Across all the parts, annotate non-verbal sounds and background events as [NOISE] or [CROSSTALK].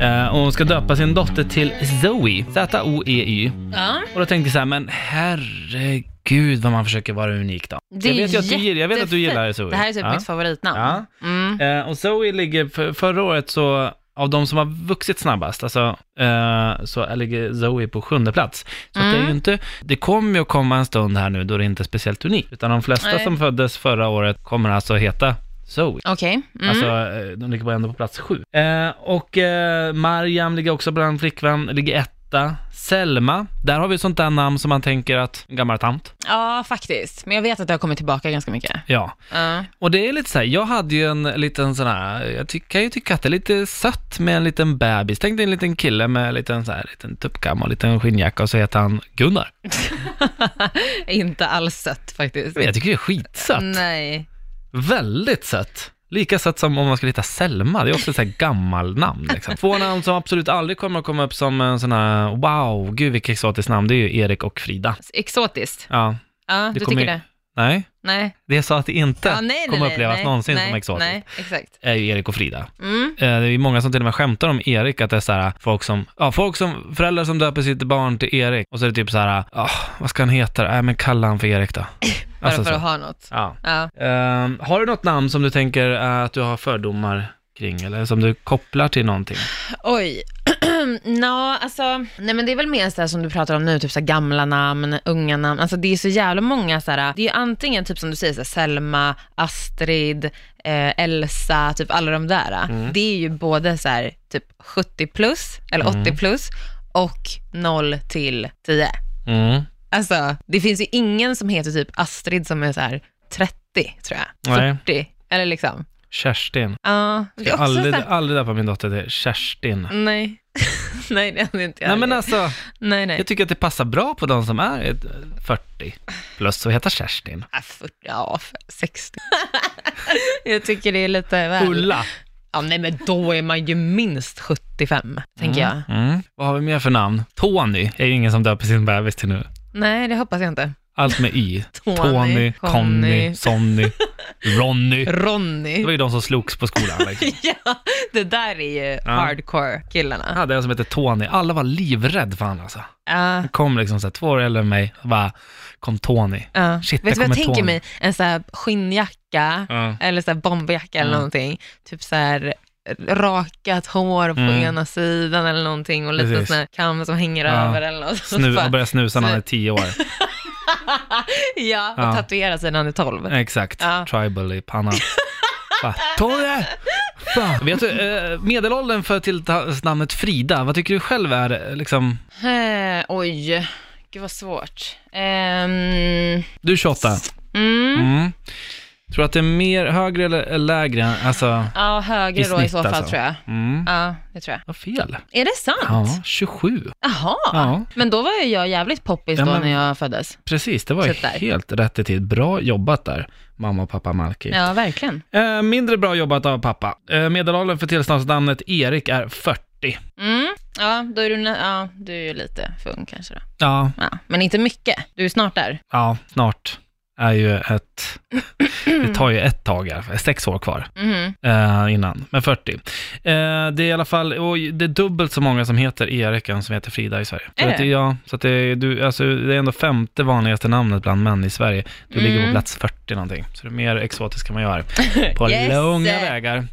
Eh, och hon ska döpa sin dotter till Zoe, Z-O-E-Y. Ja. Och då tänkte jag så här, men herregud vad man försöker vara unik då. Det jag, är vet ju att du, gillar- jag vet att du gillar jättefint. Zoe. Det här är typ ja. mitt favoritnamn. Ja. Mm. Eh, och Zoe ligger, för, förra året så, av de som har vuxit snabbast, alltså, eh, så ligger Zoe på sjunde plats. Så att det är ju Mm. inte, det kommer ju att komma en stund här nu då det inte är speciellt unikt. Utan de flesta Nej. som föddes förra året kommer alltså heta Zoe. Okej. Mm. Alltså, eh, de ligger bara ändå på plats sju. Eh, och eh, Mariam ligger också bland flickvän, ligger etta. Selma, där har vi ett sånt där namn som man tänker att, en gammal tant. Ja, faktiskt. Men jag vet att det har kommit tillbaka ganska mycket. Ja. Ja. Och det är lite så här, jag hade ju en liten sån här, jag ty- kan ju tycka att det är lite sött med en liten bebis. Tänk dig en liten kille med en liten så här, liten tuppkam och en liten skinnjacka och så heter han Gunnar. [LAUGHS] Inte alls sött faktiskt. Men jag tycker det är skitsött. Mm. Nej. Väldigt sött. Lika sött som om man skulle heta Selma, det är också ett så här gammal namn. Liksom. Två namn som absolut aldrig kommer att komma upp som en sån här, wow, gud vilket exotiskt namn, det är ju Erik och Frida. Exotiskt. Ja, Ja, Det du kommer- tycker det? nej, Nej. det jag sa att det inte Ja, nej, nej, kommer nej, upplevas nej, någonsin nej, som exotiskt, Nej, exakt. är ju Erik och Frida. Mm. Eh, Det är ju många som till och med skämtar om Erik, att det är så här, folk som, ja, folk som, föräldrar som döper sitt barn till Erik, och så är det typ så här, ah, vad ska han heta? Nej, men kalla han för Erik då. [LAUGHS] Alltså Bara för så. att ha något. Ja. Ja. Ehm, har du något namn som du tänker eh, att du har fördomar kring, eller som du kopplar till någonting? Oj. [CLEARS THROAT] Nå, alltså, nej men det är väl mer så här som du pratar om nu, typ så här gamla namn, unga namn. Alltså det är så jävla många så här, det är ju antingen typ som du säger, så här, Selma, Astrid, eh, Elsa, typ alla de där. Mm. Det är ju både så här, typ 70 plus, eller 80 plus, och 0 till 10. Mm. Alltså, det finns ju ingen som heter typ Astrid som är så här 30, tror jag. Nej. 40, eller liksom. Kerstin. Ja, det Jag är har också så aldrig, här, aldrig döpa min dotter till Kerstin. nej. [LAUGHS] nej, det hade inte jag. Nej men gjort. alltså, nej, nej. jag tycker att det passar bra på de som är ett- 40 plus och heter Kerstin. Ja, 40, Äh, ja, 60. [LAUGHS] jag tycker det är lite väl. Ulla. Ja, nej, men då är man ju minst 75, tänker jag. Mm. Vad har vi mer för namn? Tony är ju ingen som döper sin bebis till nu. Nej, det hoppas jag inte. Allt med Y. Tony, Tony, Conny, Conny. [LAUGHS] Sonny, Ronny. Det var Ronny. ju de som slogs på skolan. Liksom. [LAUGHS] ja, det där är ju Jag hardcore-killarna. hade en som hette Tony. Alla var livrädda för honom alltså. Ja, Han kom liksom så här, två år äldre än mig och bara, kom Tony. ja. Shit, Vet du där vad jag kommer tänker Tony. mig? En sån här skinnjacka, Ja. eller så här bomberjacka eller Mm. någonting. Typ så här rakat hår på Mm. ena sidan eller någonting och lite Precis. sån här kam som hänger Ja. över eller något. [LAUGHS] Snu, han började snusa när han är tio år. ja, och Ja. tatuera sig när han är 12. Exakt. Ja. Tribal i pannan. Bara, Tony! [LAUGHS] Fan. Vet du, eh, medelåldern för tilltalsnamnet Frida, vad tycker du själv är eh, liksom, Eh, oj, gud vad svårt. Ehm, du är 28. mm, Mm. Tror du att det är mer, högre eller lägre? Alltså, ja, högre I då i snitt så fall alltså. tror jag. mm. Ja, det tror jag. Vad fel. Är det sant? Ja, 27. Jaha, Ja. men då var ju jag jävligt poppis Ja, då men- när jag föddes. Precis, det var ju Typ där. helt rätt i tid. Bra jobbat där, mamma och pappa Malki. Ja, verkligen. Eh, mindre bra jobbat av pappa. Eh, medelåldern för tillståndsnamnet Erik är 40. Mm, ja, då är du, nä- ja, du är ju lite för ung kanske då. Ja, Ja, men inte mycket. Du är snart där. ja, snart är ju ett... Det tar ju ett tag här, sex år kvar Mhm. eh, innan, men 40. Eh, det är i alla fall, och det är dubbelt så många som heter Erik än som heter Frida i Sverige. Är så att, det? ja, så att det, är, du, alltså, det är ändå femte vanligaste namnet bland män i Sverige. Du ligger på Mm. plats 40 någonting, så det är mer exotiskt kan man [LAUGHS] göra. på Yes. långa vägar.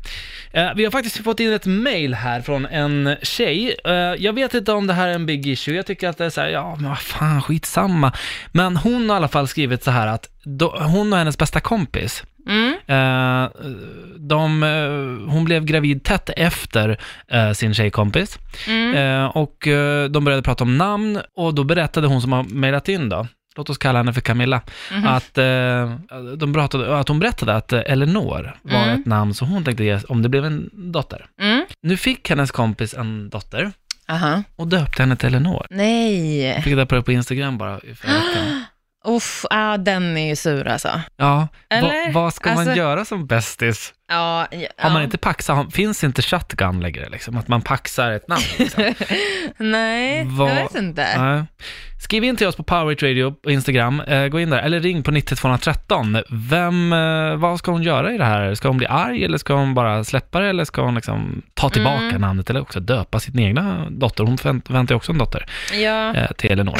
Eh, vi har faktiskt fått in ett mail här från en tjej. Eh, jag vet inte om det här är en big issue, jag tycker att det är så här, ja men vad fan, skitsamma. Men hon har i alla fall skrivit så här att då, hon och hennes bästa kompis, Mm. eh, de, eh, hon blev gravid tätt efter eh, sin tjejkompis. Mm. Eh, och eh, de började prata om namn och då berättade hon som har mejlat in då, låt oss kalla henne för Camilla, Mhm. att, eh, de pratade, att hon berättade att eh, Eleanor var Mm. ett namn som hon tänkte ge om det blev en dotter. Mm. Nu fick hennes kompis en dotter Aha. och döpte henne till Eleanor. Nej. Fick jag reda på det på Instagram bara i förra veckan. Uff, ah, den är ju sur alltså. Ja, Eller? Va, vad ska Alltså- man göra som bästis? Ja, ja. Har man inte paxat, har- finns inte shotgun längre liksom? Att man paxar ett [LAUGHS] namn liksom. Nej, Vad- jag vet inte. Nej. Skriv in till oss på Powerweight Radio på Instagram, eh, gå in där, eller ring på 90213. Vem, eh, vad ska hon göra i det här? Ska hon bli arg eller ska hon bara släppa det eller ska hon liksom ta Mm. tillbaka namnet eller också döpa sin egna dotter? Hon vänt- väntar ju också en dotter Ja. eh, till Elinor.